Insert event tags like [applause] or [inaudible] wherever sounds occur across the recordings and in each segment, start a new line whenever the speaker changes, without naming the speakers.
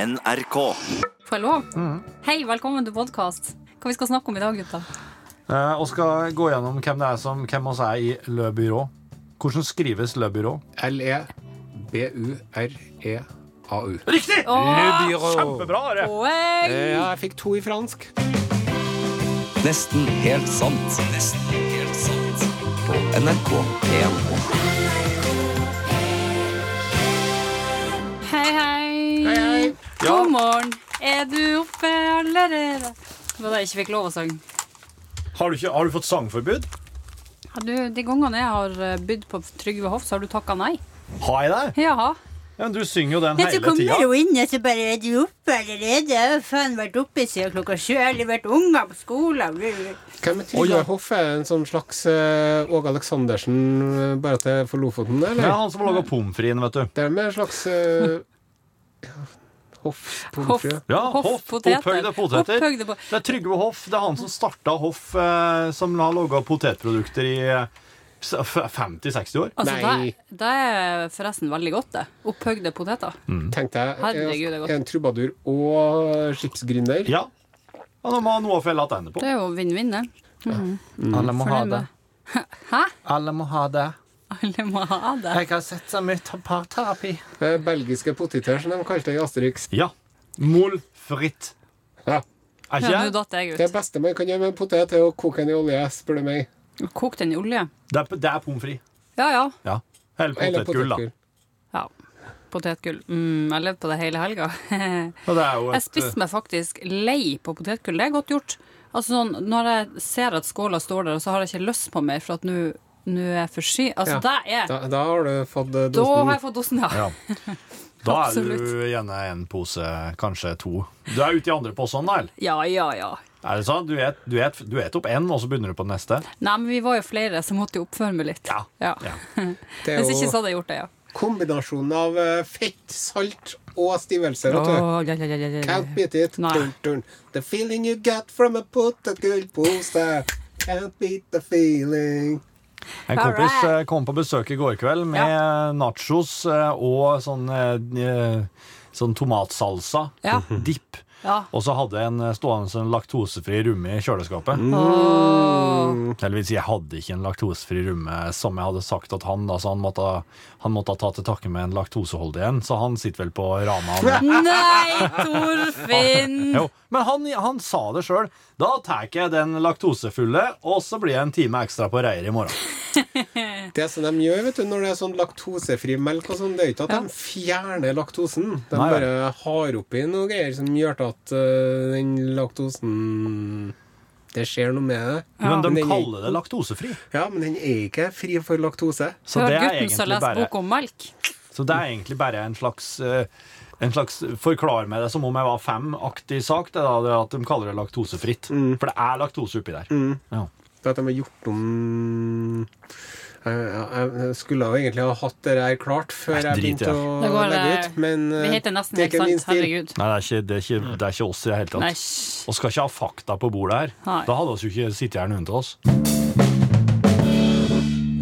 NRK.
Får jeg lov?
Mm.
Hei, velkommen til podkast. Hva vi skal snakke om i dag, gutta?
Eh, og skal gå gjennom hvem det er som Hvem oss er i Le Bureau. Hvordan skrives Le Bureau?
L-E-B-U-R-E-A-U.
Riktig!
Åh,
Kjempebra! Are.
poeng!
Ja, jeg fikk to i fransk.
Nesten helt sant. Nesten helt sant. På NRK1.
Hei, hei. God morgen. Er du oppe allerede? Det var da jeg ikke fikk lov å synge.
Har, du ikke, har du fått sangforbud?
Ja, Du, de gangene jeg har eh, bydd på Trygve Hoff, så har du takka nei.
Har jeg det?
Jaha.
Ja, men du synger jo den
Ja, så
hele
kommer
tida.
hun inn, og så bare Er du oppe allerede? Jeg har faen vært oppe siden klokka sju. Jeg har levert unger på skolen.
Hvem er Trygve Hoff? Er det en sånn slags eh, Åge Aleksandersen, eh, bare at det er for Lofoten,
Det er
eller?
han som har laga pommes fritesen, vet du.
Det er med en slags eh, ja, Hoff
Hoff.
Pomfrø.
Ja, Hoff,
poteter.
opphøyde poteter.
Opphøyde po-
Det er Trygve Hoff. Det er han som starta Hoff, eh, som har laga potetprodukter i eh, s- f- 50-60 år.
Altså,
Nei.
det, det er forresten veldig godt, det. Opphøgde poteter.
Tenkte jeg.
Herregud, det er
eh,
godt.
En trubadur og skipsgründer.
Ja. ja nå må ha noe å felle tilbake på.
Det er jo vinn-vinn, det.
Alle må
Fornøyd med. Mm. [laughs] Hæ?
Alle må ha det.
Alle må ha det.
Jeg har sett så mye parterapi.
Eh, Belgiske poteter, som de kalte det i Asterix.
Ja. Mol fritt.
Ja.
Er
Ja,
ikke
nå
det?
datt jeg
Det
ut.
beste man kan gjøre med en potet, er å koke den i olje, spør du meg.
Kok den i olje.
Det er, det er pommes frites.
Ja, ja.
Ja. Eller
Eller
potetgull, da.
potetgull.
ja. Potetgull. Mm, jeg levde på det hele helga. [laughs] jeg
Ja, det er jo et,
spiste meg faktisk lei på potetgull. Det er godt gjort. Altså sånn, Når jeg ser at skåla står der, så har jeg ikke lyst på mer, for at nå nå er jeg for sky. Altså,
Ja,
det er
Da, da har du fått eh,
Da har
dosen.
jeg fått dosen, ja.
eh, ja. Da er du
Absolutt.
gjerne en pose, kanskje to. Du er ute i andre posen, da? eller?
Ja, ja, ja.
Er det sånn? Du et, du et, du et opp én, og så begynner du på den neste?
Nei, men vi var jo flere, så måtte jo oppføre meg litt.
Ja. Ja.
Det er
Hvis
jo-
ikke så hadde jeg gjort det, ja.
Kombinasjonen av eh, fett, salt og stivelse. vet du.
Åh, ja, ja, ja, ja, ja.
Can't beat it.
Nei.
Dun, dun. The feeling you get from a potetgullpose. Can't beat the feeling.
En
All
kompis
right.
eh, kom på besøk i går kveld med nachos eh, og sånn, eh, sånn tomatsalsa.
Ja.
Dipp.
Ja.
Og så hadde jeg en eh, stående en laktosefri rumme i kjøleskapet. Eller vil si, jeg hadde ikke en laktosefri rumme som jeg hadde sagt at han altså han, måtte, han måtte ta til takke med en laktoseholdig en, så han sitter vel på rama. han.
Nei, Torfinn!
Jo, men han, han sa det sjøl. Da tar jeg den laktosefulle, og så blir jeg en time ekstra på Reier i morgen.
Det som de gjør vet du, når det er sånn laktosefri melk, og sånn, det er jo ikke at de fjerner laktosen. De
Nei,
bare har oppi noe greier som gjør at eh, den laktosen Det skjer noe med det.
Men
Men
de
den er-
kaller det laktosefri.
Ja, men den er ikke fri for laktose.
[laughs] Så det, er
gutten som
egentlig
leser
bare,
bok om melk.
så det er egentlig bare en slags eh, en slags forklar meg det som om jeg var fem-aktig sak. Det er da det at de kaller det laktosefritt. For det er laktose oppi der. Ja.
For at de har gjort om jeg, jeg, jeg skulle jo egentlig ha hatt det her klart før jeg
drit i
begynte
det.
å
Det går,
legge
eh,
ut, men
Vi
eh,
heter nesten
det er
helt
ikke min
sant.
stil.
Herregud.
Nei, det er, ikke, det, er ikke, det er ikke oss i det hele tatt.
Nei, hysj.
Og skal ikke ha fakta på bordet her.
Nei.
Da hadde oss jo ikke sittet her noen av oss.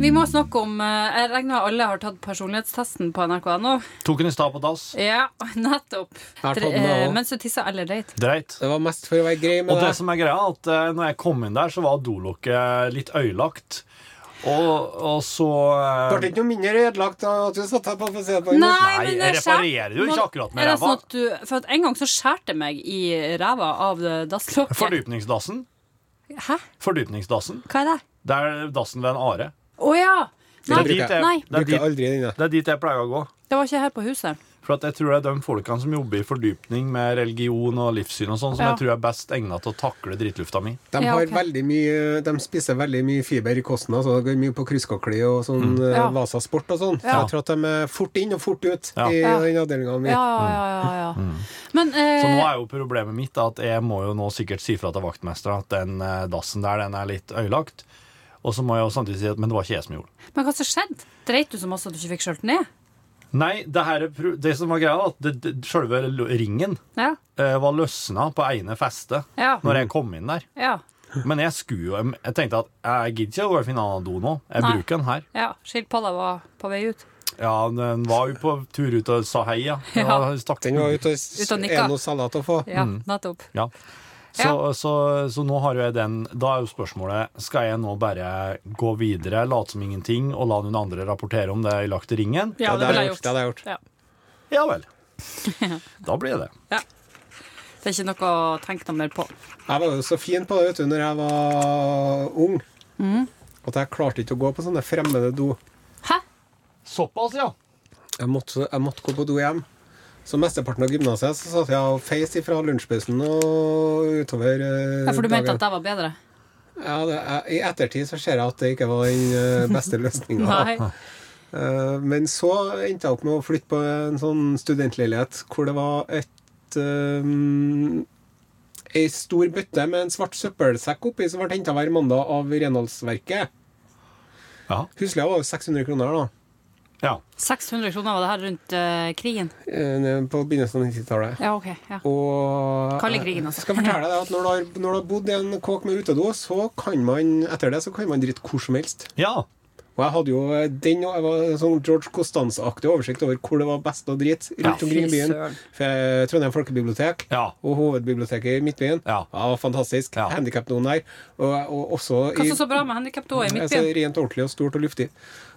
Vi må snakke om eh, Jeg regner med alle har tatt personlighetstesten på nrk.no.
Tok den i stad på dass.
Ja, nettopp.
har tatt
Dere,
den, jeg
eh,
også.
Mens du tisser eller dreit.
Dreit.
Det var mest for å være grei
Og
med
det
deg.
som er greia, er at eh, når jeg kom inn der, så var dolokket litt øyelagt. Og, og så eh,
Ble det ikke noe mindre ødelagt av at du satt her på for å se på
Nei,
den?
Nei,
men
jeg
det skjer-
reparerer jo ikke
Nå-
akkurat med
er det
ræva.
sånn at du- For at En gang så skjærte jeg meg i ræva av det dasslokket.
Fordypningsdassen.
Hæ?
Fordypningsdassen.
Hva er det?
Det er dassen ved en are.
Å ja!
Det
Nei,
er, dit jeg,
nei,
det, er
Brukte
dit,
aldri den, jeg.
det er dit jeg pleier å gå.
det var ikke her på huset.
For at jeg tror det er de folkene som jobber i fordypning med religion og livssyn og sånn, som
Ja.
jeg tror er best egna til å takle drittlufta mi.
De,
Ja,
har
ok.
veldig mye, de spiser veldig mye fiber i kosten. Altså, det går mye på krusskakli og sånn
Mm.
eh,
Ja.
Vasasport og sånn.
Ja.
Jeg tror at de er fort inn og fort ut
Ja.
i
Ja.
den avdelinga mi.
Ja, ja, ja. ja, ja.
Mm.
Men
Så nå
eh,
er jo problemet mitt at jeg må jo nå sikkert si fra til vaktmesteren at den eh, dassen der, den er litt øyelagt. Og så må jeg jo samtidig si at men det var ikke jeg som gjorde det.
Men hva som skjedde? Dreit du så masse at du ikke fikk skjølt ned?
Nei, det, her, er pro- det som var greia, var at det, det, selve lo- ringen
Ja.
eh, var løsna på ene feste
Ja.
når jeg kom inn der.
Ja.
Men jeg skulle jo Jeg tenkte at jeg gidder ikke å gå og finne en annen do nå. Jeg
Nei.
bruker den her.
ja. Skilpadda var på vei ut.
Ja, den var jo på tur ut og sa hei, ja. ja. stakk-
Den var ute
Ut
og
og
s-
nikka.
er noe salat å få.
Ja, nettopp.
Ja. Så, så, så nå har jo jeg den. Da er jo spørsmålet skal jeg nå bare gå videre, late som ingenting og la noen andre rapportere om det jeg lagt i ringen.
Ja, det
hadde
ville
jeg
jeg
gjort,
gjort.
det hadde jeg gjort.
Ja.
Ja vel. Da blir det.
Det er ikke noe å tenke noe mer på.
Jeg var jo så fin på det vet du, når jeg var ung,
Mm.
at jeg klarte ikke å gå på sånne fremmede do.
Hæ?
Såpass, ja.
Jeg måtte, jeg måtte gå på do hjem. Så mesteparten av gymnaset så satt jeg og feis ifra lunsjpausen og utover eh,
Ja, for du mente at
dagen.
jeg var bedre?
Ja, det, jeg, I ettertid så ser jeg at det ikke var den eh,
[laughs]
beste løsninga.
Nei.
Eh, Men så endte jeg opp med å flytte på en sånn studentleilighet hvor det var et um, ei stor bøtte med en svart søppelsekk oppi som ble henta hver mandag av renholdsverket.
Ja.
Husleia var jo 600 kroner da,
ja.
600 kroner var det her rundt eh, krigen.
eh, på begynnelsen av 90-tallet.
Ja, OK. Ja.
Og
Kalde krigen, altså.
Jeg skal fortelle deg at når du, har, når du har bodd i en kåk med utedo, så kan man etter det så kan man drite hvor som helst.
ja.
Og jeg hadde jo eh, den og jeg var en sånn George Costanza-aktig oversikt over hvor det var best å drite rundt
Ja.
omkring i byen.
Fy søren.
For jeg- eh, Trondheim folkebibliotek
Ja.
og hovedbiblioteket i Midtbyen.
Ja.
var fantastisk.
Ja.
Handikapdoen der. Og, og også
Hva som er så bra med handikapdoa i
altså,
midtbyen?
rent ordentlig og stort og luftig.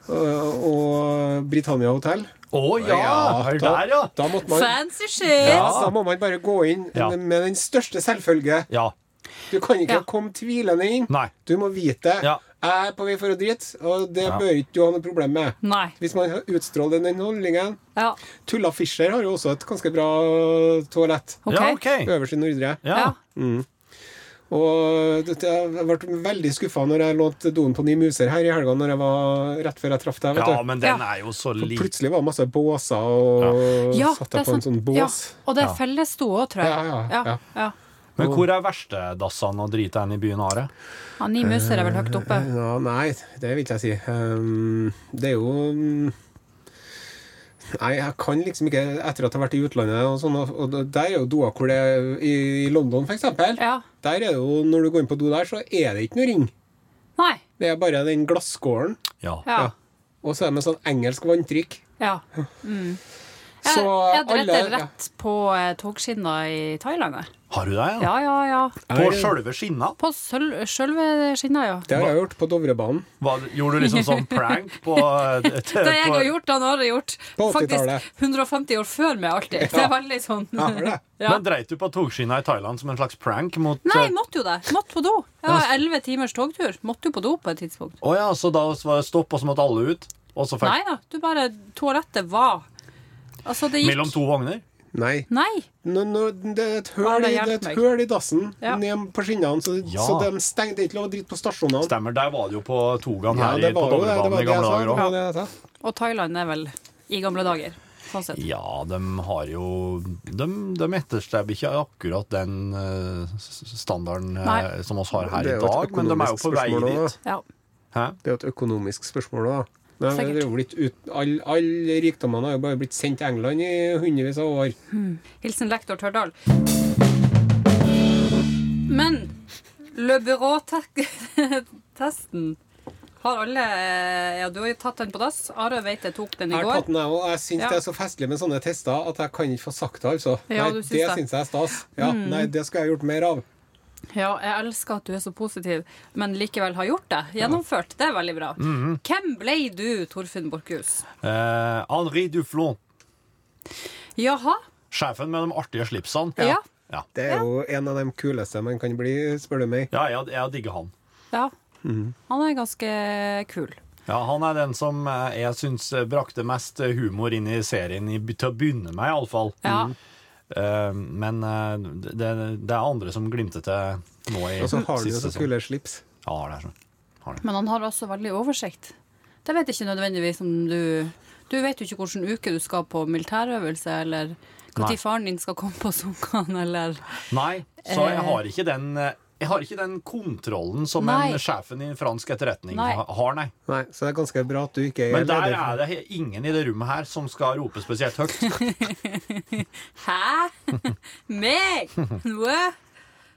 Og, og Britannia hotell.
Å ja! Hør
da,
der, ja.
da måtte man
Fancy shit!
ja,
Ja.
Da må man bare gå inn
Ja.
med den største selvfølge.
Ja.
Du kan
Ja.
ikke komme tvilende inn.
Nei.
Du må vite det.
Ja.
Jeg er på vei for å drite, og det
Ja.
bør ikke du ha noe problem med.
Nei.
Hvis man utstråler den holdningen.
Ja,
Tulla Fischer har jo også et ganske bra toalett.
OK.
Ja, OK.
Øverst i nordre.
Ja.
Ja.
Og dette- jeg ble veldig skuffa når jeg lånte doen på Ni Muser her i helga, når jeg var rett før jeg traff deg. vet
ja,
du.
men den
Ja.
er jo så
For
liten.
plutselig var det masse båser, og
ja,
satt
det
jeg
er
på en
sant.
sånn
Ja.
bås.
Og det
Ja.
er fellesdo òg, tror jeg.
Ja, ja,
Ja,
ja.
ja.
Men hvor er verstedassene og dritene i byen Are?
Ja, Ni muser er vel høyt oppe.
Ja, nei, det vil ikke jeg si. Ehm, det er jo mm, Nei, jeg kan liksom ikke Etter at jeg har vært i utlandet og sånn, og, og der er jo doer hvor det er- I London, for eksempel.
Ja.
Der er det jo, når du går inn på do der, så er det ikke noe ring.
Nei.
Det er bare den glasskålen,
Ja.
Ja.
Ja. og så er det med sånn engelsk vanntrykk.
ja. Mm. Jeg,
Så
jeg hadde rett,
alle- ja.
rett på eh, togskinner i Thailand. jeg.
Har du det? Ja.
Ja, ja, ja.
På
Er det-
sjølve skinna?
På sølv- sjølve skinna, ja.
Det har jeg gjort på Dovrebanen.
Hva- Gjorde du liksom sånn prank på
Det jeg har gjort, han har gjort.
På
Faktisk
80-tallet.
150 år før meg alltid. Det er veldig sånn
Ja, har du det?
[laughs] Ja.
Men dreit du på togskinna i Thailand som en slags prank mot eh,
Nei, måtte jo det. Måtte på do. Jeg har elleve timers togtur. Måtte jo på do på et tidspunkt.
Å ja, så da var det stopp, og så måtte alle ut? Og så
Nei
fikk
da, du bare Toalettet var Altså, det gikk
mellom to vogner?
Nei.
Nei.
Nå, nå, det er et
Har
høl
det
i, det er
hjulpet
et
meg?
høl i dassen
Ja.
ned på skinnene, så,
Ja.
så de stengte det er ikke lov å drite på stasjonene.
Stemmer, der var det jo på togene
Ja,
her
det
i- på
var jo det. Det
Dovrebanen i
var det jeg
gamle
sa.
dager
Det
òg.
var det jeg sa.
Og Thailand er vel i gamle dager. Sånn sett.
Ja, de har jo De, de etterstreber ikke akkurat den eh, s- standarden eh,
Nei.
som oss har her
Det
i
er jo et
dag, men de er jo
økonomisk
på vei
spørsmål også,
dit.
Ja.
Hæ?
Det er jo et økonomisk spørsmål òg.
Sikkert.
Alle all rikdommene har jo bare blitt sendt til England i hundrevis av år.
Hilsen lektor Tørdal. Men Le Bureau-testen har alle Ja, du har jo tatt den på dass. Are Veite tok den i
Jeg har
går.
tatt den, jeg òg. Jeg syns
Ja.
det er så festlig med sånne tester at jeg kan ikke få sagt det, altså.
Ja,
nei,
du syns
det
det.
syns jeg er stas. Ja, Nei, det skulle jeg gjort mer av.
Ja, jeg elsker at du er så positiv, men likevel har gjort det. Gjennomført. Det er veldig bra.
Mhm.
Hvem ble du, Torfinn Borchhus?
Eh, Henri Duflon,
Jaha?
sjefen med de artige slipsene.
Ja.
Ja,
Det er jo en av de kuleste man kan bli, spør du meg.
ja jeg, jeg digger han.
Ja.
Mhm.
Han er ganske kul.
Ja, Han er den som eh, jeg syns brakte mest eh, humor inn i serien, i, til å begynne med iallfall.
Ja.
men eh, det, det er andre som glimter til nå i
Og så har han jo
siste sånn.
så kule slips.
Ja, det er sånn. Har det.
Men han har også veldig oversikt. Det vet ikke nødvendigvis om du Du vet jo ikke hvilken uke du skal på militærøvelse, eller
Nei.
når faren din skal komme på sukkene, eller
Nei, så jeg
Eh.
har ikke den eh, jeg har ikke den kontrollen som
Nei.
en sjefen i en fransk etterretning
Nei.
ha- har, nei.
Nei, så det er ganske bra at du ikke er
Men der
leder.
er det he- ingen i det rommet her som skal rope spesielt høyt.
[laughs] Hæ? Meg? Noe?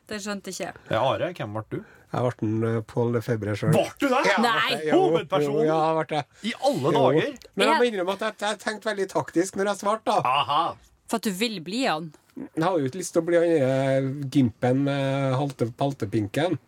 Det skjønte ikke jeg.
Ja, Eh, Are, hvem ble du?
Jeg ble en eh, Paul Lefebvre sjøl.
Ble du det?!
Nei!
Hovedpersonen?
Ja, jeg ble det.
I alle
Jo.
dager!
Men jeg må
Jeg-
innrømme at jeg, jeg tenkte veldig taktisk når jeg svarte. da.
Aha.
For at du vil bli han.
Jeg hadde jo ikke lyst til å bli han derre gimpen med halte, paltepinken.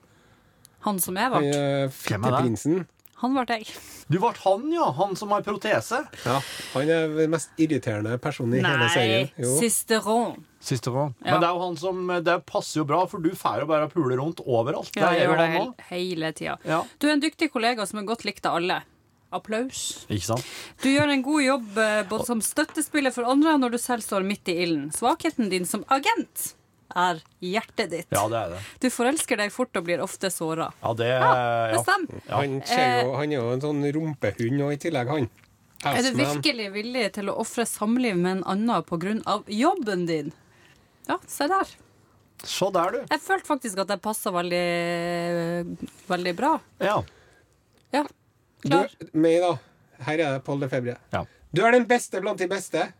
Han som jeg
Han,
ble.
Hvem er
eh,
det?
Fitteprinsen.
Han ble jeg.
Du ble han, ja. Han som har protese.
Ja, han er den mest irriterende personen i hele
Nei.
serien. Jo.
Sisteron.
Siste gang.
Ja.
Men det er jo han som eh, Det passer jo bra, for du får jo bare pule rundt overalt.
Ja,
er
jeg
jo
gjør det
han
hele,
også.
hele tida.
Ja.
Du er en dyktig kollega som er godt likt av alle. Applaus.
Ikke sant?
Du gjør en god jobb eh, både som støttespiller for andre og når du selv står midt i ilden. Svakheten din som agent er hjertet ditt.
Ja, det er det.
Du forelsker deg fort og blir ofte såra.
Ja, det eh,
Det
ja.
stemmer.
Han, ser jo, han er jo en sånn rumpehund og i tillegg, han.
Er du
Assman.
virkelig villig til å ofre samliv med en annen pga. jobben din? Ja, se der.
Se der, du.
Jeg følte faktisk at jeg passa veldig, veldig bra.
Ja.
Ja.
Du,
Klar.
meg, da. Her er det Paul Lefebvre.
ja.
Du er den beste blant de beste.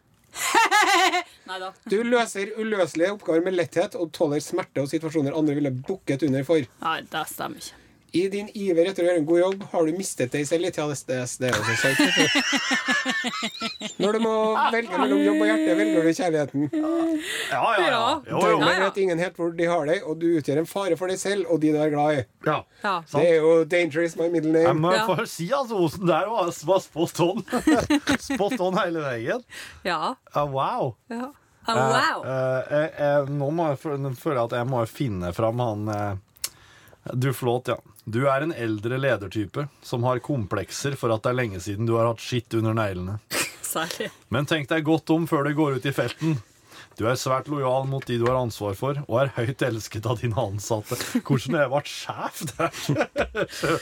Nei da.
Du løser uløselige oppgaver med letthet og tåler smerte og situasjoner andre ville bukket under for.
Nei, det stemmer ikke.
I din iver etter å gjøre en god jobb har du mistet deg selv litt. Ja, det, det, det er jo så sant. Når du må velge mellom jobb og hjerte, velger du kjærligheten.
Ja, ja, ja.
Ja.
Jo, jo.
Ja,
Dermed
ja.
vet ingen helt hvor de har deg, og du utgjør en fare for deg selv og de du er glad i.
Ja.
Ja.
Det er jo 'Danger is my middle
Jeg
name'.
må
Ja.
få si altså, Osen der var, var spot on. [laughs] spot on hele veien.
Ja.
Ja, wow.
ja. Ah, wow.
Eh, eh, eh, nå må jeg, f- nå føler jeg at jeg må finne fram han eh, Du, flåt, ja. Du er en eldre ledertype som har komplekser for at det er lenge siden du har hatt skitt under neglene.
Særlig.
Men tenk deg godt om før du går ut i felten. Du er svært lojal mot de du har ansvar for, og er høyt elsket av dine ansatte. Hvordan jeg ble sjef der?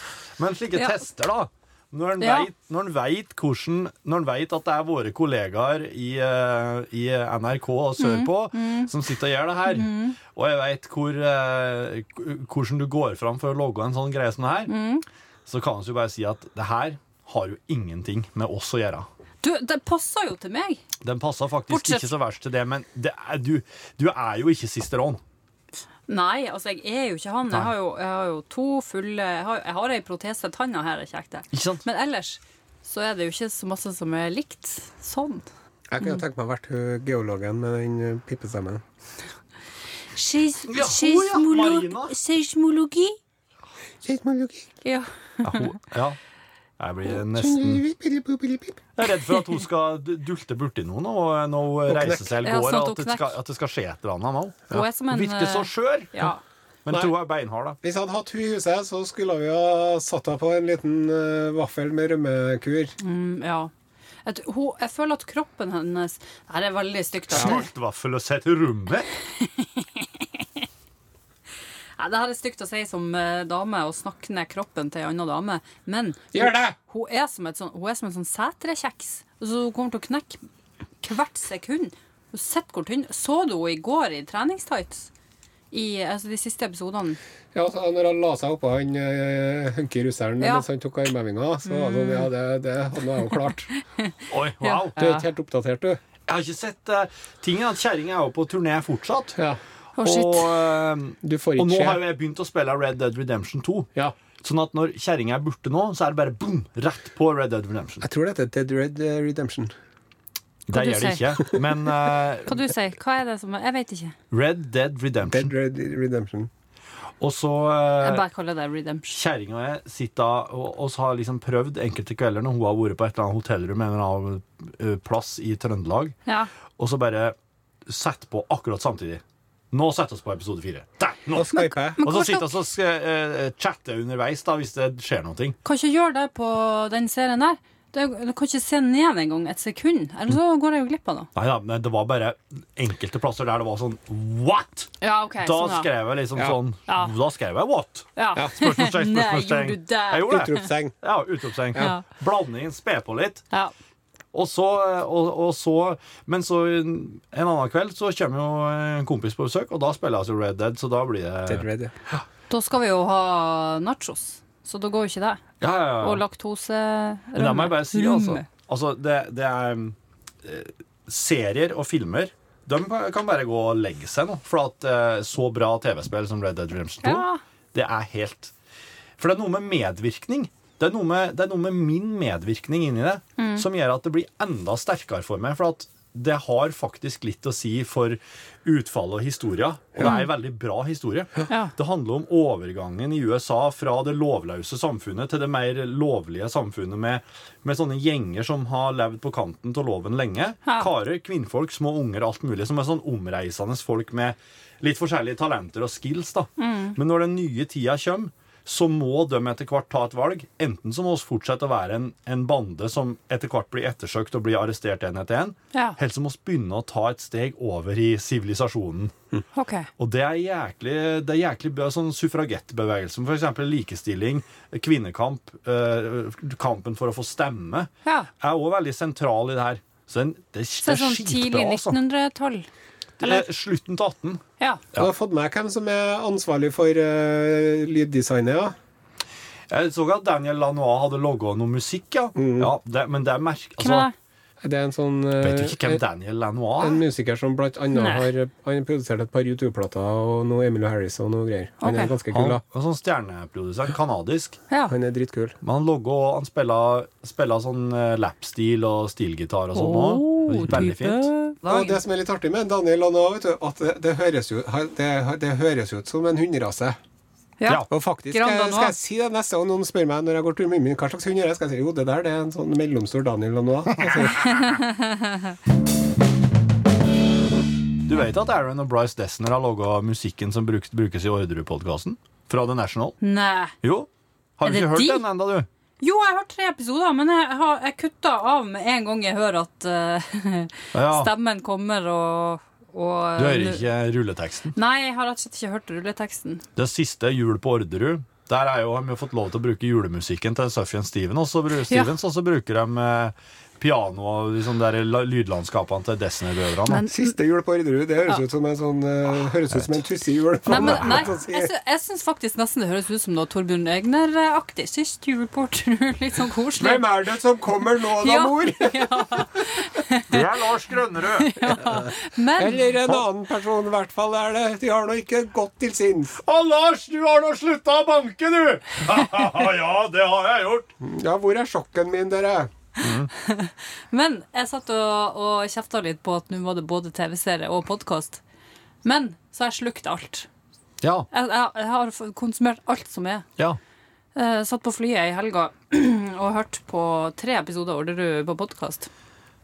[laughs] Men slike
Ja.
tester, da. Når en,
Ja.
vet, når, en vet hvordan, når en vet at det er våre kollegaer i, eh, i NRK og sørpå
Mm,
som sitter og gjør det her, og jeg vet hvor, eh, k- hvordan du går fram for å logge en sånn greie som det her,
Mm.
så kan vi jo bare si at det her har jo ingenting med oss å gjøre.
Du, det passer jo til meg.
Den passer faktisk
Bortsett-
ikke så verst til det, men det er, du, du er jo ikke sisterån.
Nei, altså jeg er jo ikke han. Jeg har jo, jeg har jo to fulle Jeg har, jeg har ei protese. Tanna her er kjekt, det.
Ikke sant?
Men ellers så er det jo ikke så masse som er likt sånn.
Jeg kunne tenkt meg å vært hun geologen med den eh, pippestemmen.
Seis,
Ja, hun, ja, seismolog- Marina.
seismologi?
Seismologi.
Ja.
Ja, hun, ja. Jeg blir nesten jeg er redd for at hun skal du- dulte borti noen og eh, når hun
knekk.
reiser seg
Ja,
eller går,
sånn at hun
at, det
knekk.
skal, at det skal skje et eller annet nå.
Hun er som en, eh,
Hun virker så skjør,
ja.
men jeg tror hun er beinhard, da.
Hvis jeg hadde hatt hun i huset, så skulle vi ha satt henne på en liten eh, vaffel med rømmekur.
Mm, ja. Jeg, tror- hun, jeg føler at kroppen hennes Det her er veldig stygt. altså.
Smalt vaffel og sett rumme.
Nei, det her er stygt å si som eh, dame og snakke ned kroppen til ei anna dame, men
Gjør det!
hun, er som et sånn, hun er som en sånn setrekjeks. Altså, hun kommer til å knekke hvert sekund. Hun sitter hvor tynn. Så du henne i går i treningstights? I altså, de siste episodene.
Ja, så når han la seg oppå han eh, hunky russeren
Ja.
mens han tok armhevinga, så var det sånn Ja, det, det hadde jeg jo
[laughs]
klart.
Oi, wow.
Du er ikke helt oppdatert, du.
Jeg har ikke sett eh, tingen at kjerringa er jo på turné fortsatt.
Ja.
Å, shit.
Og, eh,
Du får
og nå
ikke
har
se.
jo jeg begynt å spille Red Dead Redemption 2.
Ja.
Sånn at når kjerringa er borte nå, så er det bare boom, rett på Red Dead Redemption.
Jeg tror dette er Dead Red eh, Redemption.
Det
du
gjør det ikke. Men eh,
Hva du sier? Hva er det som er Jeg vet ikke.
Red Dead Redemption.
Dead Red Redemption.
Og så
Jeg
uh,
bare kaller det redemption.
Kjerringa og jeg sitter og, og har liksom prøvd enkelte kvelder når hun har vært på et eller annet hotellrom en eller annen eh, plass i Trøndelag,
Ja.
og så bare sett på akkurat samtidig. Nå setter vi oss på episode fire. Der! Nå!
Og Skype.
Men
Og så
hvor skal-
sitter vi og så, eh, chatter underveis da, hvis det skjer noe.
Kan ikke gjøre det på den serien der. Det, du kan ikke se ned engang et sekund, eller så går jeg jo glipp av noe.
Nei da, men det var bare enkelte plasser der det var sånn What?!
sånn, Ja, ok,
Da skrev jeg liksom
Ja.
sånn
Ja.
Da skrev jeg what?
Ja. [laughs]
Spørsmålstegn,
Nei,
spørsmålstegn.
gjorde du det?
Jeg gjorde det.
[laughs] Utropstegn.
Ja, utropstegn.
Ja.
Blande inn, spe på litt.
Ja.
Og så, og, og så Men så en en annen kveld så kommer jo en kompis på besøk, og da spiller jeg altså Red Dead, så da blir det
Dead Red, ja.
Da skal vi jo ha nachos, så da går jo ikke det.
Ja, ja, ja.
Og laktose
Men altså, det må jeg bare si, altså. altså det, det er eh, Serier og filmer De kan bare gå og legge seg nå. For at eh, så bra TV-spill som Red Dead Redemption 2,
Ja.
det er helt For det er noe med medvirkning. Det er noe med, det er noe med min medvirkning inni det
Mm.
som gjør at det blir enda sterkere for meg. For at det har faktisk litt å si for utfallet og historia. Og det er en veldig bra historie.
Mm. Ja.
Det handler om overgangen i USA fra det lovløse samfunnet til det mer lovlige samfunnet med, med sånne gjenger som har levd på kanten av loven lenge.
Ja.
Karer, kvinnfolk, små unger og alt mulig. Som er sånn omreisende folk med litt forskjellige talenter og skills. da. Men når den nye tida kommer, så må de etter hvert ta et valg. Enten så må vi fortsette å være en, en bande som etter hvert blir ettersøkt og blir arrestert en etter en.
Ja.
Eller så må vi begynne å ta et steg over i sivilisasjonen.
OK.
Og det er jæklig, det er jæklig bra sånn suffragettbevegelsen, for eksempel likestilling, kvinnekamp, eh, kampen for å få stemme,
Ja.
er også veldig sentral i det her. Så den, det, er-
Så
det
det er
er
sånn tidlig
skitbra, altså.
1912.
Det er Slutten til 18.
Ja.
Jeg har fått med hvem som er ansvarlig for eh, lyddesignet. Ja.
Jeg så at Daniel Lanois hadde logget noe musikk, ja.
Mm.
ja det, men det er merk...
Hvem er
Altså,
det?
Det er en sånn eh,
vet du ikke hvem Daniel Lanois
En
er?
musiker som blant annet
Nei.
har Han har produsert et par YouTube-plater og noe Emil og Harris og noe greier. Han
Ok. Ah.
er ganske kul,
Han
da.
var sånn stjerneprodusent, kanadisk.
Ja.
Han er drittkul.
Men han logget og han spillet, spillet sånn eh, lapstil og stilgitar og sånn
Åh,
også. Veldig fint.
Og det som er litt artig med Daniel Lanoa, vet du, at det, det, høres jo, det, det høres jo ut som en hunderase.
Ja.
Ja.
Og faktisk
Grand
skal, jeg-
Danois.
skal jeg si det neste gang noen spør meg når jeg går tur med min, hva slags hund er det, skal jeg si jo, det der det er en sånn mellomstor Daniel
[laughs]
Altså, Lanoa.
Du vet at Aaron og Bryce Dessner har laga musikken som brukes, brukes i Orderud-podkasten? Fra The National?
Nei.
Jo. Har
Er
du
det
ikke hørt
de?
den ennå, du?
Jo, jeg har tre episoder, men jeg, har, jeg kutta av med en gang jeg hører at eh, [laughs]
Ja,
stemmen kommer og, og eh,
du hører ikke rulleteksten.
Nei, jeg har rett og slett ikke hørt rulleteksten.
Det siste, Jul på Orderud, der er jo, har vi jo fått lov til å bruke julemusikken til Sufjan Steven, og så bru- Stevens, og så bruker de eh, piano og liksom der la- lydlandskapene til Dessner-brødrene.
Men-
Siste jul på Orderud, det høres ut som en sånn eh, Høres ut som en tussejul.
Nei, men,
[laughs]
nei jeg, sy jeg syns faktisk nesten det høres ut som noe Torbjørn Egner-aktig. Sist juleporter, [laughs] litt sånn koselig.
Hvem er det som kommer nå da,
Ja. [laughs]
mor?
Det er Lars Grønnerød!
Men
Eller en annen person, i hvert fall. er det De har nå ikke gått til sinns.
[laughs] Og Lars, du har nå slutta å banke, du! [laughs] ja, det har jeg gjort.
Ja, hvor er sjokken min, dere?
Men jeg satt og, og kjefta litt på at nå var det både TV-serie og podkast. Men så har jeg slukt alt.
Ja,
Jeg, jeg, jeg har f- konsumert alt som er.
ja.
Eh, satt på flyet i helga [clears throat] og hørte på tre episoder av Orderud på podkast.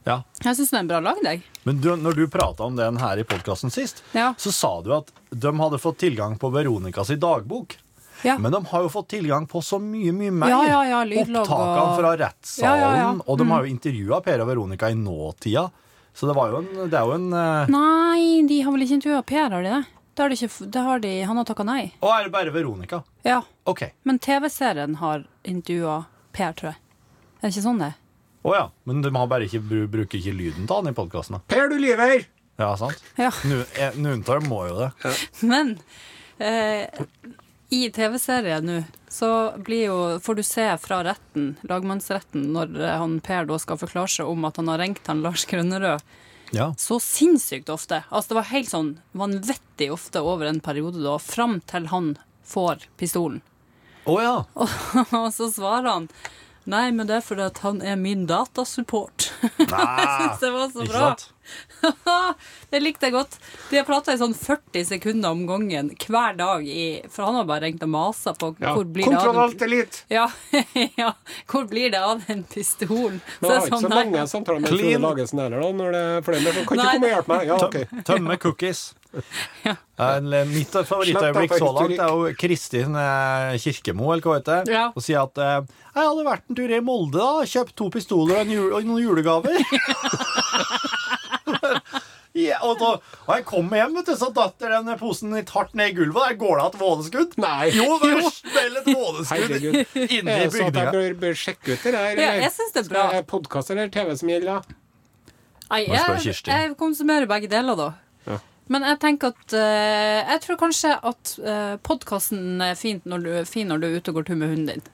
ja.
Jeg syns det er en bra lagdag.
Men du, når du prata om den her i podkasten sist,
Ja.
så sa du at de hadde fått tilgang på Veronicas dagbok.
Ja.
Men de har jo fått tilgang på så mye, mye mer.
Ja, ja, ja, lydlogg og-
Opptakene fra rettssalen,
Ja, Mm. ja, ja.
og de har jo intervjua Per og Veronica i nåtida. Så det, var jo en, det er jo en eh,
Nei, de har vel ikke intervjua Per, har de det? Det har de ikke, f- det har de, han har takka nei.
Å, er det bare Veronica?
Ja.
OK.
Men TV-serien har intervjua Per, tror jeg. Er det ikke sånn det er?
Å ja. Men de har bare ikke, bru- bruker ikke lyden til han i podkastene.
Per, du lyver!
Ja, sant?
Ja.
Nu- eh, Noen av dem må jo det.
Men eh, i TV-serien nå så blir jo, får du se fra retten, lagmannsretten, når eh, han Per da skal forklare seg om at han har ringt han Lars Grønnerød
Ja.
så sinnssykt ofte. Altså det var helt sånn vanvittig ofte over en periode da, fram til han får pistolen. [laughs]
Å ja.
Og så svarer han Nei, men det er fordi at han er min datasupport. [laughs]
Nei.
det var så
Ah, Ikke
bra.
sant?
[laughs] det likte jeg godt. De har prata i sånn 40 sekunder om gangen hver dag i For han har bare ringt og masa på hvor blir det
Kontroll
av
alt
den
elite!
[laughs] ja, ja, hvor blir det av den pistolen?
Men jeg har ikke så
nei.
mange samtaler med
Clean.
Frode Lagesen heller, da. Når det er flere som
Nei.
kan ikke komme og hjelpe meg. Ja, ok.
Tømme cookies. Eh, Mitt favorittøyeblikk
Slett av
så langt
historikk.
er jo Kristin eh, Kirkemo, eller hva heter det,
Ja.
og sier at eh, 'Jeg hadde vært en tur i Molde, da. Kjøpt to pistoler og, en jul og noen
[laughs]
julegaver'. Ja, og, da, og jeg kom hjem, vet du, så datt den posen litt hardt ned i gulvet. Der går det et vådeskudd.
[laughs]
Nei.
Jo, det er vel et [laughs] vådeskudd
Herregud.
inni
Er det sånn at jeg
bygninga.
bør, bør sjekke ut det der?
Ja,
eller?
jeg synes det er
Skal
bra.
jeg podkast eller TV som gjelder, da?
Nei,
Må spørre
jeg,
Kirsti.
jeg konsumerer begge deler, da. Men jeg tenker at eh, Jeg eh, tror kanskje at uh, podkasten er fint når du, fin når du er ute og går tur med hunden din.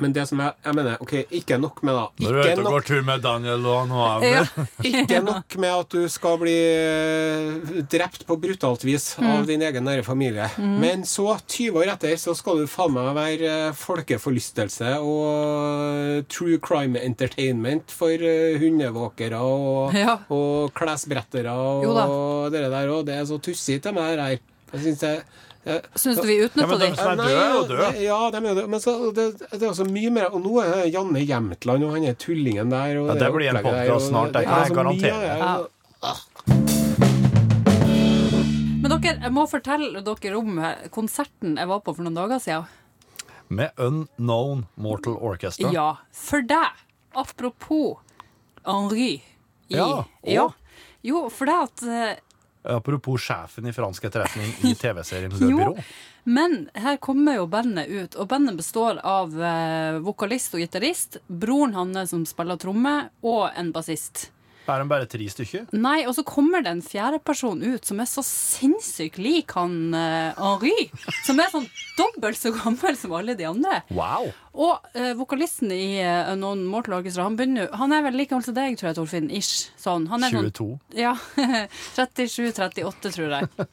Men det som jeg, jeg mener, ok, ikke nok med da
Når du er
Ikke
ute og
nok,
går tur med Daniel og han og
Ja.
Amund.
[laughs]
ikke nok med at du skal bli eh, drept på brutalt vis
Mm.
av din egen nære familie. Men så, 20 år etter, så skal du faen meg være eh, folkeforlystelse og eh, true crime entertainment for eh, hundevåkere og,
Ja.
og klesbrettere
Jo da.
og det der òg. Det er så tussig til meg, det her. Jeg synes det, det
Syns du vi
Ja,
utnytta
men
de?
de som er døde, er jo døde.
det- Ja, de er jo døde. Men så, det, det er også mye mer Og nå er det Janne Jämtland og han er tullingen der. Og
Ja, det blir en
opplegget der,
podcast
og
snart, det kan
er
jeg
så
garantere.
mye,
Ja.
ja.
Men dere, jeg må fortelle dere om eh, konserten jeg var på for noen dager siden.
Med Unknown Mortal Orchestra.
Ja, for deg. Apropos Henri. I,
Ja, og?
ja. Jo, for det at eh,
Apropos sjefen i fransk etterretning
[laughs]
i TV-serien Le
Jo,
Byrå.
men her kommer jo bandet ut, og bandet består av eh, vokalist og gitarist, broren hans som spiller tromme, og en bassist.
Er de bare tre stykker?
Nei, og så kommer det en fjerde person ut som er så sinnssykt lik han eh, Henri. Som er sånn dobbelt så gammel som alle de andre.
Wow!
Og eh, vokalisten i eh, Unknown Mortal Orchestra, han, begynner, jo- han er vel like gammel som deg, tror jeg, Torfinn. Ish. Sånn. Han er sånn
22.
ja. [laughs] 37-38, tror jeg.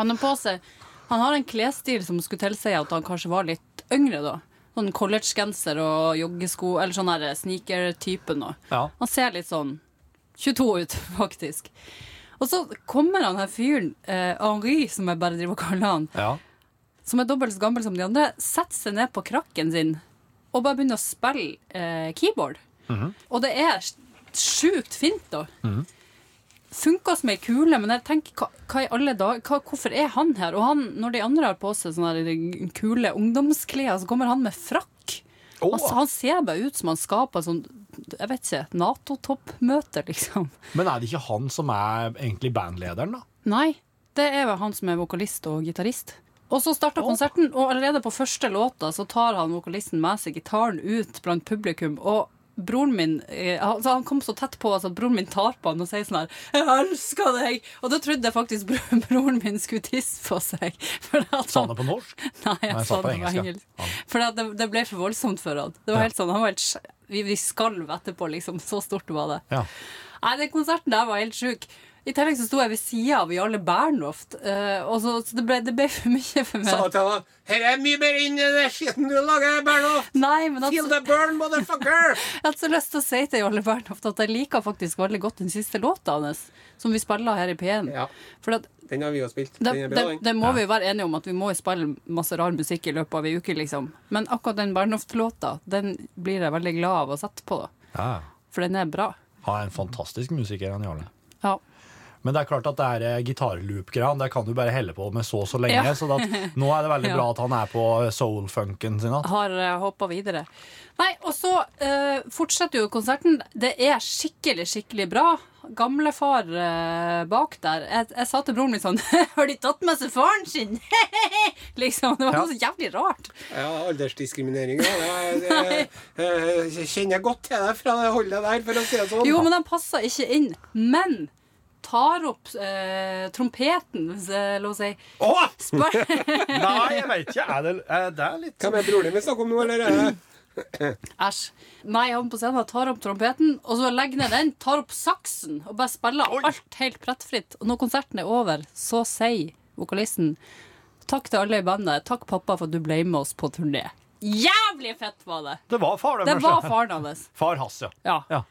Han har på seg Han har en klesstil som skulle tilsi at han kanskje var litt yngre da. Sånn collegegenser og joggesko, eller sånn her sneaker-typen. da.
Ja.
Han ser litt sånn 22 ut, [laughs] faktisk. Og så kommer han her fyren, eh, Henri, som jeg bare driver og kaller han,
ja.
som er dobbelt så gammel som de andre, setter seg ned på krakken sin og bare begynner å spille eh, keyboard. Og det er s- sjukt fint, da. Funker som ei kule, men jeg tenker hva, hva i alle dager hva- Hvorfor er han her? Og han, når de andre har på seg sånne her eh, kule ungdomsklær, så kommer han med frakk.
Å,
Han, han ser bare ut som han skaper sånn Jeg vet ikke, Nato-toppmøte, liksom.
men er det ikke han som er egentlig bandlederen, da?
Nei, det er vel han som er vokalist og gitarist. Og så starter konserten, og allerede på første låta så tar han vokalisten med seg gitaren ut blant publikum. og Broren min eh, han, så han kom så tett på oss at broren min tar på han og sier sånn her 'Jeg elsker deg!' Og da trodde jeg faktisk bro- [laughs] broren min skulle tisse på seg. For at
Sa han det på norsk?
Nei, jeg
Nei,
sa det på engelsk.
ja.
For at det, det ble for voldsomt for han. Det var helt sånn, han var helt, sj- vi, vi skalv etterpå, liksom. Så stort var det.
Ja.
Nei, den konserten der var helt sjuk. I tillegg så sto jeg ved sida av Jarle Bernhoft, eh, og så, så det, ble, det ble for mye for
Sa
meg.
til han Her er mye bedre enn den skitten du lager, Bernhoft!
Nei, men
Feel
altså,
the burn,
[laughs]
motherfucker!
jeg hadde så lyst til å si til Jarle Bernhoft at jeg liker faktisk veldig godt den siste låta hans, som vi spiller her i P1.
Ja.
For at,
Den har vi jo spilt.
det,
Den er
det,
bra, den.
det må vi jo være enige om, at vi må jo spille masse rar musikk i løpet av ei uke, liksom. Men akkurat den Bernhoft-låta, den blir jeg veldig glad av å sette på, da.
ja.
For den er bra.
Han er en fantastisk musiker, han Jarle.
Ja.
Men det er klart at det er gitarloop-greiene. Det kan du bare helle på med så og så lenge.
Ja.
Så da,
[laughs]
nå er det veldig
Ja.
bra at han er på eh, soul-funken sin. da.
Har uh, hoppa videre. Nei, og så eh, fortsetter jo konserten. Det er skikkelig, skikkelig bra. Gamlefar uh, bak der. Jeg, jeg sa til broren min sånn [laughs] Har de tatt med seg faren sin? [laughs] liksom. Det var
Ja.
noe så jævlig rart.
Ja, aldersdiskriminering, ja.
[laughs]
Det, er- det, eh, jeg kjenner godt til deg fra det holdet der, for å si det sånn.
Jo, men den passer ikke inn. Men tar opp eh, trompeten, hvis jeg lov å si.
Åh!
Spør
Nei, jeg veit ikke. Er det, er det er litt
Hvem er broren din vi snakker om nå, eller? er det-
Æsj. Nei, han på scenen tar opp trompeten, og så legger ned den, tar opp saksen og bare spiller alt helt brettfritt. Og når konserten er over, så sier vokalisten takk til alle i bandet, takk pappa for at du ble med oss på turné. Jævlig fett var det!
Det var far,
Det
den
var
første.
faren hans.
Far Hass, ja.
Ja.
ja.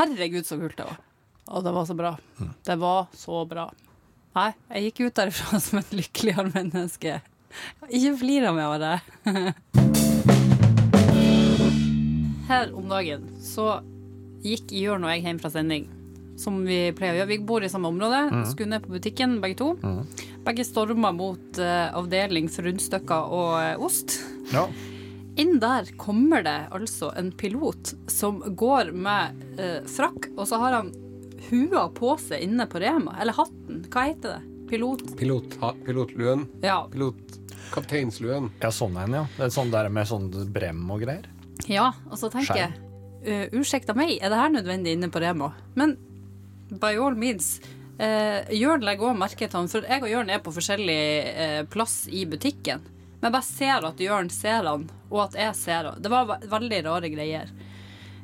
Herregud, så kult det var. Og det var så bra. Det var så bra. Nei, jeg gikk ut derifra [laughs] som et lykkeligere menneske. Ikke flir av meg av det. [laughs] Her om dagen så gikk Jørn og jeg hjem fra sending, som vi pleier å gjøre. Vi bor i samme område, skulle ned på butikken begge to. Begge storma mot eh, avdeling for rundstykker og eh, ost.
ja.
Inn der kommer det altså en pilot som går med eh, frakk, og så har han hua på seg inne på Rema. Eller hatten. Hva heter det? Pilot?
[clears throat] Pilot, ha- pilotluen.
Ja.
Pilot... Kapteinsluen.
ja sånn en, ja. Det er sånn der med sånn brem og greier.
ja og så tenker jeg, eh, ursekta meg, er det her nødvendig inne på Rema? Men by all means. Eh, Jørn legger òg merke til han, for jeg og Jørn er på forskjellig eh, plass i butikken. Men jeg bare ser at Jørn ser han, og at jeg ser han. Det var ve- veldig rare greier.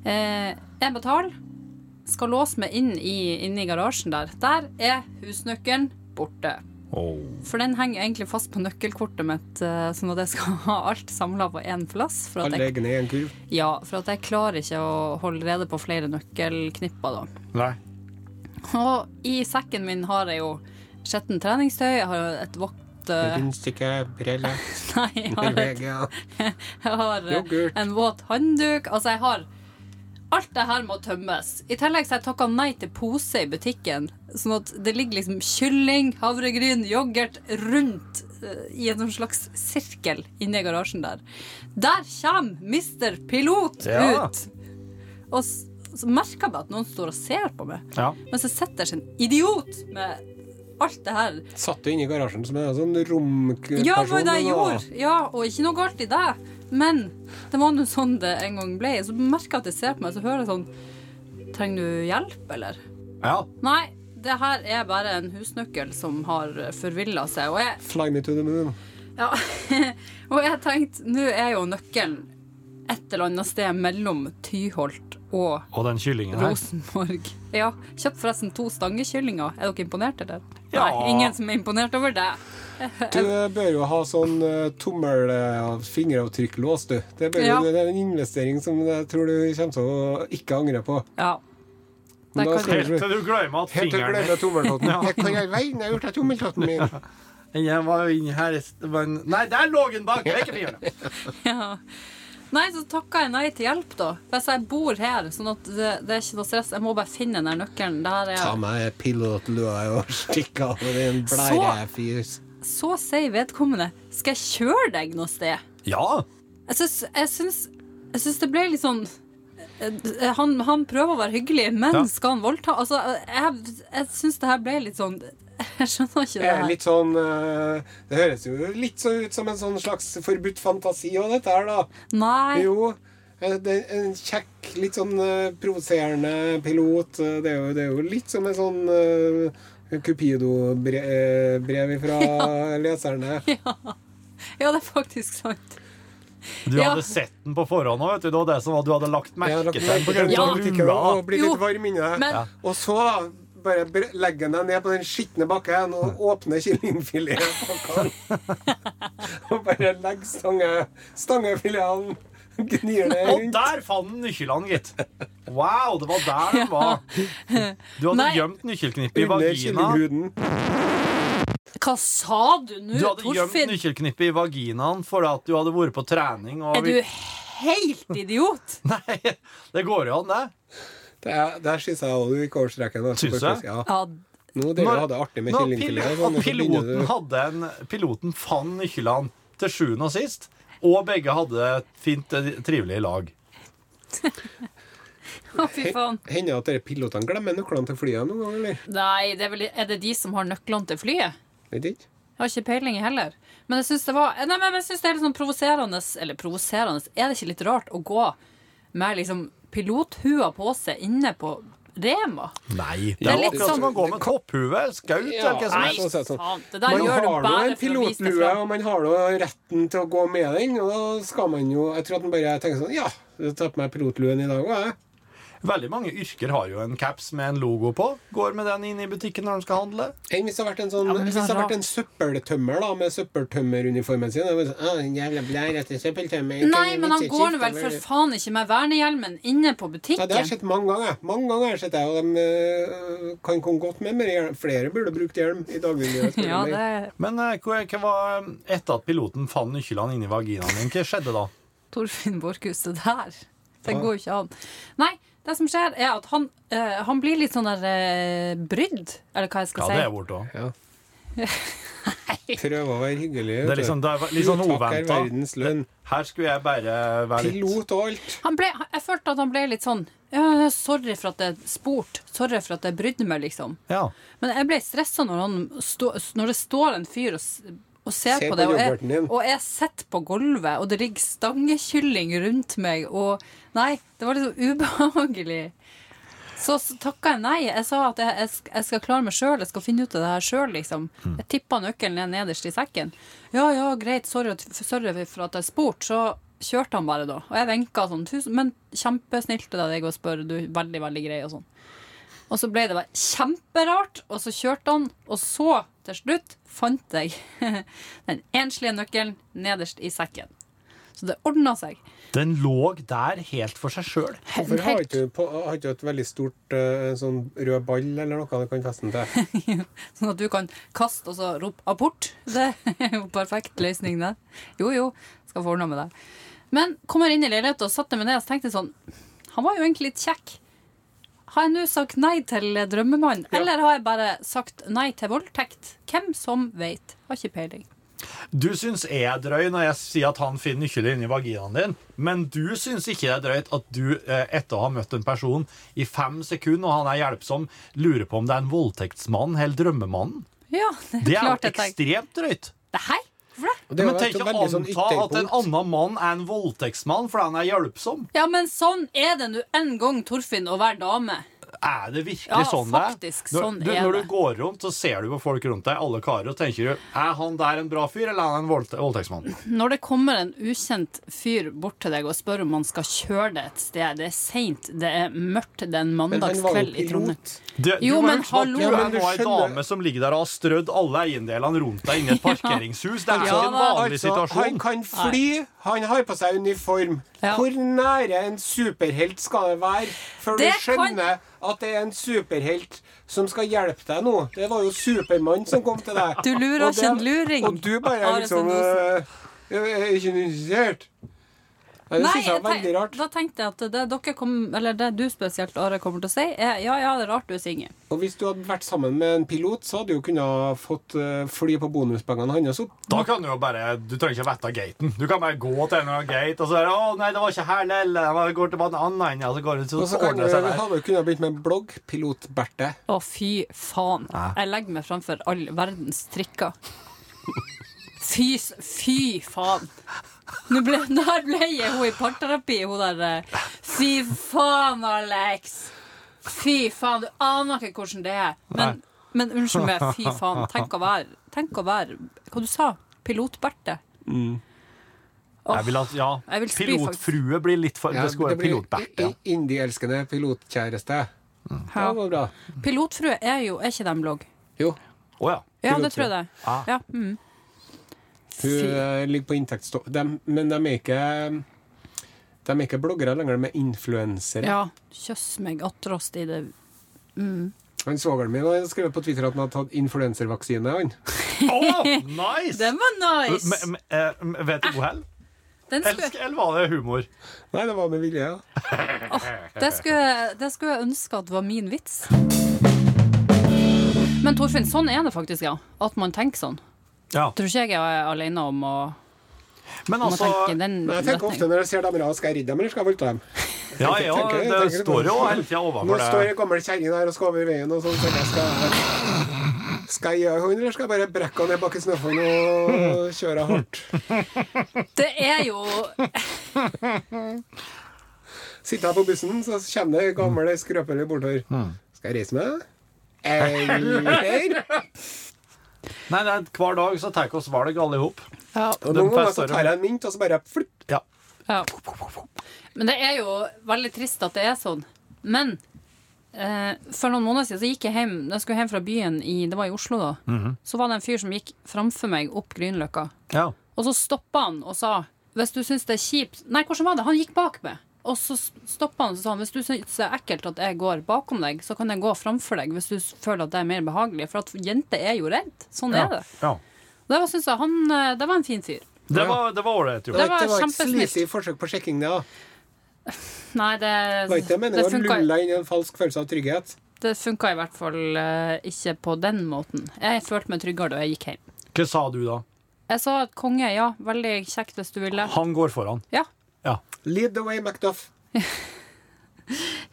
Eh, jeg betaler, skal låse meg inn i, inn i garasjen der. Der er husnøkkelen borte.
Åh.
For den henger egentlig fast på nøkkelkortet mitt, eh, sånn at jeg skal [laughs] ha alt samla på én plass. For at,
Alle
jeg,
eggene i en kurv.
ja, for at jeg klarer ikke å holde rede på flere nøkkelknipper, da.
Nei.
Og i sekken min har jeg jo skjettent treningstøy, jeg har et vått eh, [laughs]
Rundstykke, briller,
Nei, jeg har et
Norvegia.
[laughs] Jeg har eh,
Yoghurt.
en våt handduk. Altså, jeg har Alt det her må tømmes. I tillegg så har jeg takka nei til pose i butikken. Sånn at det ligger liksom kylling, havregryn, yoghurt rundt eh, i en sånn slags sirkel inni garasjen der. Der kommer Mr. Pilot
Ja.
ut! Og s- så merker jeg bare at noen står og ser på meg.
Ja.
Men så sitter jeg som en idiot med alt det her.
Satt du inne i garasjen som en sånn romperson?
Ja, det var det jeg
da?
gjorde. Ja, og ikke noe galt i det. Men det var nå sånn det en gang ble. Så merker jeg at jeg ser på meg, så hører jeg sånn Trenger du hjelp, eller?
ja.
Nei, det her er bare en husnøkkel som har forvilla seg. Og jeg,
Fly me to the moon.
ja, [laughs] og jeg tenkte, nå er jo nøkkelen et eller annet sted mellom Tyholt og
Og den kyllingen her.
Rosenborg. Ja, Kjøpt forresten to stangekyllinger. Er dere imponert, eller?
Ja.
Nei, ingen som er imponert over det.
Du bør jo ha sånn uh, tommel- og fingeravtrykklås, du. Det, bør,
Ja.
jo- det er en investering som jeg tror du kommer til å ikke angre på.
Ja. Der
Men da
kan
skal
jeg-
Helt til
du glemmer at
Helt til å glemme [laughs] tommeltotten.
Ja.
Hva i all verden har jeg gjort av tommeltotten
[laughs]
min?
Jeg var jo inne her i st- var en- Nei, der lå den bak! Det er ikke fingeren.
Ja. Nei, så takka jeg nei til hjelp, da. For jeg sa jeg bor her, sånn at det, det er ikke noe stress. Jeg må bare finne den der nøkkelen. Der er
Ta
jeg.
meg pilotlua og stikk av med din blærefis.
Så sier vedkommende 'Skal jeg kjøre deg noe sted?'
[laughs] Ja.
Jeg syns, jeg syns, jeg syns det ble litt sånn eh, han, han prøver å være hyggelig, men
Ja.
skal han voldta? Altså, jeg, jeg syns det her ble litt sånn [laughs] Jeg skjønner ikke
Det
det
er
her.
litt sånn eh, Det høres jo litt så ut som en sånn slags forbudt fantasi og dette her, da.
Nei.
Jo. eh, Det er en kjekk, litt sånn eh, provoserende pilot. eh, Det er, jo, det er jo litt som en sånn eh, Cupido-brev
[laughs]
fra leserne.
[laughs] Ja, det er faktisk sant.
Du
Ja.
hadde sett den på forhånd òg, vet du. Det var det som var, du hadde lagt
Jeg har
merke
lagt
til den
merke
på
til
grunn
Ja.
av
politikken og
lua.
blir
Jo,
litt varm inni deg.
men- Ja.
Og så, da, bare bre- legger han deg ned på den skitne bakken og åpner kyllingfileten på
[laughs]
kant. Og bare legger stange, stangefileten Gnir det
Og
rundt.
der fant den nøkkelen, gitt. Wow, det var der den var. Du hadde
Nei.
gjemt nøkkelknippet i
Under
vagina.
kyllinghuden.
Hva sa du nå,
Du hadde gjemt
Torfinn?
nøkkelknippet i vaginaen fordi at du hadde vært på trening. Og
Er du helt idiot?
[laughs] Nei, det går jo an, det.
Det er- Der syns jeg òg du gikk over streken. Altså,
Syns jeg?
Ja.
Ja,
Nå det hadde det artig med
når pil
kyllingfilet.
og piloten, hadde en, piloten fant nøklene til sjuende og sist, og begge hadde et fint, eh, trivelig lag.
å, fy faen.
Hender det at dere pilotene glemmer nøklene til flyet noen gang, eller?
Nei, det er, vel, er det de som har nøklene til flyet?
Vet ikke.
Jeg har ikke peiling heller. Men jeg syns det, var, nei, men jeg synes det er litt sånn provoserende Eller provoserende Er det ikke litt rart å gå med liksom pilothua på seg inne på Rema?
Nei, det
er
er
litt
akkurat
sånn-
som å gå med topphue, skaut
Ja,
eller hva som
Nei,
helst.
sånn sett, sånn.
faen. Det der
Man
gjør du
har jo
bare for
en
å vise det
pilotlue, og
fram.
man har jo retten til å gå med den. Og da skal man jo Jeg tror at man bare tenker sånn Ja, jeg tar på meg pilotluen i dag òg, jeg.
Veldig mange yrker har jo en caps med en logo på. Går med den inn i butikken når de skal handle.
Enn hvis det har vært en sånn
Ja, men det er
Hvis det har
rart.
vært en søppeltømmer da med søppeltømmeruniformen sin og bare sånn, «Å, den jævla blær etter søppeltømmer
Nei, men
sånn
han går nå vel for faen ikke med vernehjelmen inne på
ja, Det har jeg
butikken.
sett mange ganger. Mange ganger har jeg sett det, og de øh, kan komme godt med mer hjelm. Flere burde brukt hjelm i dagligdagen. spør du
Ja,
meg.
det
Men eh, hva, hva var eh, etter at piloten fant nøklene inni vaginaen din? Hva skjedde da?
Torfinn Borchhus, det der Det går jo ikke an. Nei, det som skjer, er at han, eh, han blir litt sånn der eh, brydd, eller hva jeg
Ja,
skal
det er
si.
borte òg.
Prøve å være hyggelig.
Det er liksom, det er litt sånn
Pilot er
oventa.
verdens lønn.
Her skulle jeg bare være litt
Pilot og alt.
Han ble, jeg følte at han ble litt sånn ja, Sorry for at jeg spurte. Sorry for at jeg brydde meg, liksom.
Ja.
Men jeg ble stressa når, han stå, når det står en fyr og, s- og ser
Se
på
på
det, og
yoghurten
jeg,
din.
og jeg sitter på gulvet, og det ligger stangekylling rundt meg, og Nei, det var liksom ubehagelig. Så s- takka jeg nei. Jeg sa at jeg, jeg, sk- jeg skal klare meg sjøl, jeg skal finne ut av det her sjøl, liksom. Jeg tippa nøkkelen ned nederst i sekken. Ja ja, greit, sorry, at- sorry for at jeg spurte, så kjørte han bare da. Og jeg vinka sånn, tusen, men kjempesnilt av deg å spørre, du er veldig, veldig grei og sånn. Og så ble det bare kjemperart, og så kjørte han, og så, til slutt, fant jeg [laughs] den enslige nøkkelen nederst i sekken. Så det ordna seg.
Den lå der helt for seg sjøl.
Hvorfor har
Helt-
ikke du på, har ikke du et veldig stort eh, sånn rød ball eller noe du kan feste den til?
[laughs] Sånn at du kan kaste og så rope abort. Det er jo perfekt løsning, det. Jo, jo, skal få ordna med det. Men kommer inn i leiligheten og satte meg ned og så tenkte jeg sånn Han var jo egentlig litt kjekk. Har jeg nå sagt nei til drømmemannen, eller har jeg bare sagt nei til voldtekt? Hvem som veit. Har ikke peiling.
Du syns jeg er drøy når jeg sier at han finner nøkkelen inni vaginaen din, men du syns ikke det er drøyt at du, eh, etter å ha møtt en person i fem sekunder, og han er hjelpsom, lurer på om det er en voldtektsmann eller drømmemannen.
Ja, det er,
Det er
klart
jo
jeg tenker
ekstremt drøyt.
Det her? Hvorfor det?
Det er jo
Men
et
tenk å
veldig sånn
anta at en
ytterpunkt.
annen mann er en voldtektsmann fordi han er hjelpsom.
Ja, men sånn er det nå en gang, Torfinn, å være dame.
Er det virkelig
Ja,
sånn det
faktisk,
Når,
sånn
du,
er
når
det.
du går rundt, så ser du på folk rundt deg, alle karer, og tenker du Er han der en bra fyr, eller er han en voldte voldtektsmann?
Når det kommer en ukjent fyr bort til deg og spør om han skal kjøre deg et sted, det er seint, det er mørkt, det er en
Men han var jo
mandagskveld i Trondheim.
pilot.
Du,
Jo,
du må
men
huske på at
hallo.
Ja,
Du er
men du
nå ei
skjønner-
dame som ligger der og har strødd alle eiendelene rundt
[laughs]
deg inni et parkeringshus. Det
Ja,
er ikke en
da.
vanlig
Altså, han
situasjon.
kan fly, han har på seg uniform.
Ja.
Hvor nære en superhelt skal det være før
Det
du skjønner at det er en superhelt som skal hjelpe deg nå? Det var jo Supermann som kom til deg.
Du lurer
Og det-
ikke en luring, sånn
Og du bare
Are
liksom
Sendosen.
øh, Jeg er ikke interessert. Nei, det
Nei,
syns jeg er
jeg
veldig
tenk-
rart.
da tenkte jeg at det, dere kom, eller det du spesielt, Are, kommer til å si, er ja, ja, det er rart du er singel.
Og hvis du hadde vært sammen med en pilot, så hadde du jo kunnet fått øh, fly på bonuspengene hans opp.
Da kan du jo bare Du trenger ikke vite gaten. Du kan bare gå til en eller annen gate, og så er det 'Å, nei, det var ikke her lell'. Jeg går til en annen ende, og så går det
Og så
så
kan du,
ordner det seg der.
hadde du kunnet begynt med en blogg. Pilot-Berthe.
Å, fy faen. Jeg legger meg framfor all verdens trikker. Fy, s- fy faen. Nå ble, der ble jeg hun i parterapi, hun der eh, Fy faen, Alex. Fy faen, du aner ikke hvordan det er. Men, men unnskyld meg, [laughs] fy faen. Tenk å være, tenk å være Hva du sa Pilot-Berte.
Jeg vil at, ja,
Jeg vil spy,
Pilotfrue blir litt for
Ja,
Det skulle være pilotbert. Ja.
i- i- Indieelskende pilotkjæreste.
Ja.
Det var bra.
Pilotfrue er jo Er ikke det en blogg?
Jo.
Å ja.
Ja, det tror jeg det.
Ah.
er. Ja, mm.
Hun
Fy-
eh, ligger på inntektsstopp. Dem- Men de er ikke De er ikke bloggere lenger, de er influensere.
Ja, kjøss meg atterast i det
Han Svogeren min har skrevet på Twitter at han har tatt influenservaksine. Han.
[laughs]
Å, nice!
Den var nice!
Men- men, eh, Vet
[laughs]
du hvor hen?
Den skulle,
Elsker, eller var det humor?
Nei, det var med vilje. ja.
det, skulle, det skulle jeg ønske at var min vits. Men Torfinn, sånn er det faktisk, ja. At man tenker sånn.
Ja.
Tror ikke jeg er alene om å,
Men
om å
altså
tenke den
Men jeg tenker ofte
retningen.
når jeg ser damer, ah, skal jeg ridde dem, eller skal jeg voldta dem?
Ja, ja,
tenker-
det
tenker-
står jo hele tida
Nå
overfor
står
det.
ei gammel kjerring der og skal over veien, og sånn tenker jeg skal skal jeg gjøre henne, eller skal jeg bare brekke henne ned bak i snøfallen og kjøre henne hardt?
Det er jo
[laughs] Sitter jeg på bussen, så kommer det gamle skrøpelige bortover.
Mm.
Skal jeg reise meg?
[laughs]
Eller
Nei, nei, Hver dag så tar vi oss valg alle i hop.
ja,
Og
Den
noen ganger så
passer
tar jeg en mynt, og så bare flipp.
Ja.
ja. Men det er jo veldig trist at det er sånn. Men eh, for noen måneder siden så gikk jeg hjem Jeg skulle hjem fra byen i Det var i Oslo, da. Så var det en fyr som gikk framfor meg opp Grünerløkka.
Ja.
Og så stoppa han og sa Hvis du syns det er kjipt Nei, hvordan var det? Han gikk bak meg. Og så stoppa han og sa han, hvis du syns det er ekkelt at jeg går bakom deg, så kan jeg gå framfor deg hvis du s- føler at det er mer behagelig. For at jenter er jo redd. Sånn er det.
Ja.
Og Det var, synes jeg, han, eh, det var en fin fyr.
Det var det var ålreit, jo.
Det var
et
kjempesnilt.
sleazy forsøk på sjekking, det. da.
Nei, det,
Det var ikke det
det
meningen å
funka-
lulle deg inn i en falsk følelse av trygghet.
Det funka i hvert fall eh, ikke på den måten. Jeg følte meg tryggere da jeg gikk hjem.
Hva sa du da?
Jeg sa at konge, ja, veldig kjekt hvis du ville.
Han går foran.
Ja.
Ja.
Lead the way, Macduff.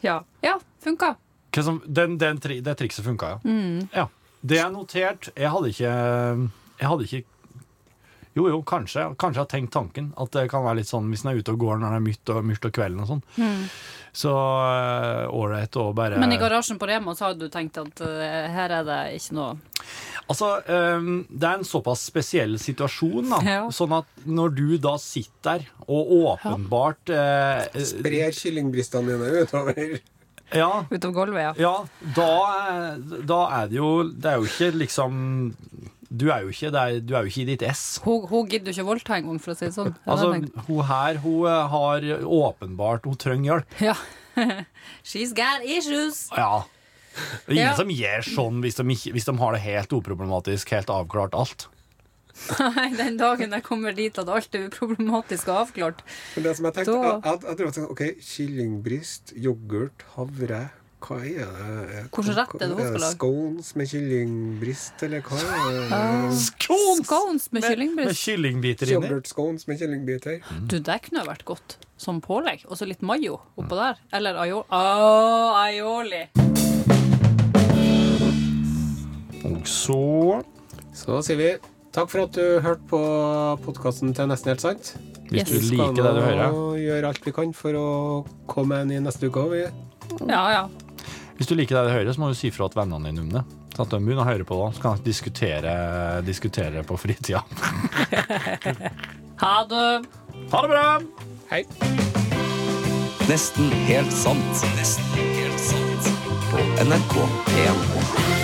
Ja, ja funka.
Hva som, den, den, tri- det trikset funka, ja.
Mm.
ja. Det jeg noterte Jeg hadde ikke Jeg hadde ikke jo, jo, kanskje Kanskje jeg har tenkt tanken at det kan være litt sånn hvis en er ute og går når det er myrt og, myrt og kvelden og sånn. Så eh, ålreit å bare
Mm. Men i garasjen på Rema så hadde du tenkt at eh, her er det ikke noe
Altså, øhm, det er en såpass spesiell situasjon, da.
Ja.
Sånn at når du da sitter der og åpenbart eh, eh,
Sprer kyllingbrystene dine utover.
ja,
utover gulvet, ja.
ja, da, eh, da er det jo Det er jo ikke liksom Du er jo ikke, det er, du er jo ikke i ditt ess.
Hun, hun gidder jo ikke voldta engang, for å si det sånn. Ja,
Altså,
det tenkte
hun her hun eh, har åpenbart Hun trenger hjelp.
jeg. ja. [laughs] She's got issues. [laughs]
Ja. Det er ingen
Ja.
som gjør sånn hvis de, ikke, hvis de har det helt uproblematisk, helt avklart alt.
Nei, den dagen jeg kommer dit at alt er uproblematisk og avklart.
Men det som jeg tenkte,
Da-
jeg, jeg, jeg drev og tenkte, ok, Kyllingbryst, yoghurt, havre Hva er det?
Hvordan rett er det hun skal lage?
Scones med kyllingbrist, eller hva er det?
Ah.
Scones!
Scones med
Med
kyllingbryst.
kyllingbiter inni.
Yoghurt scones med kyllingbiter.
Du, det kunne ha vært godt som pålegg. Og så litt mayo oppå der. Eller aioli. Åh, aioli.
Og så
Så sier vi takk for at du hørte på podkasten til Nesten helt sant.
Hvis
Yes.
du liker det du hører
Vi gjør alt vi kan for å komme med en i neste uke òg.
Ja, ja.
Hvis du liker det du hører, så må du si fra til vennene dine om det. Sånn at de begynner å høre på det, så kan de diskutere, diskutere på fritida.
Ha det.
Ha det bra!
Hei.
Nesten helt sant. Nesten helt sant. På NRK 1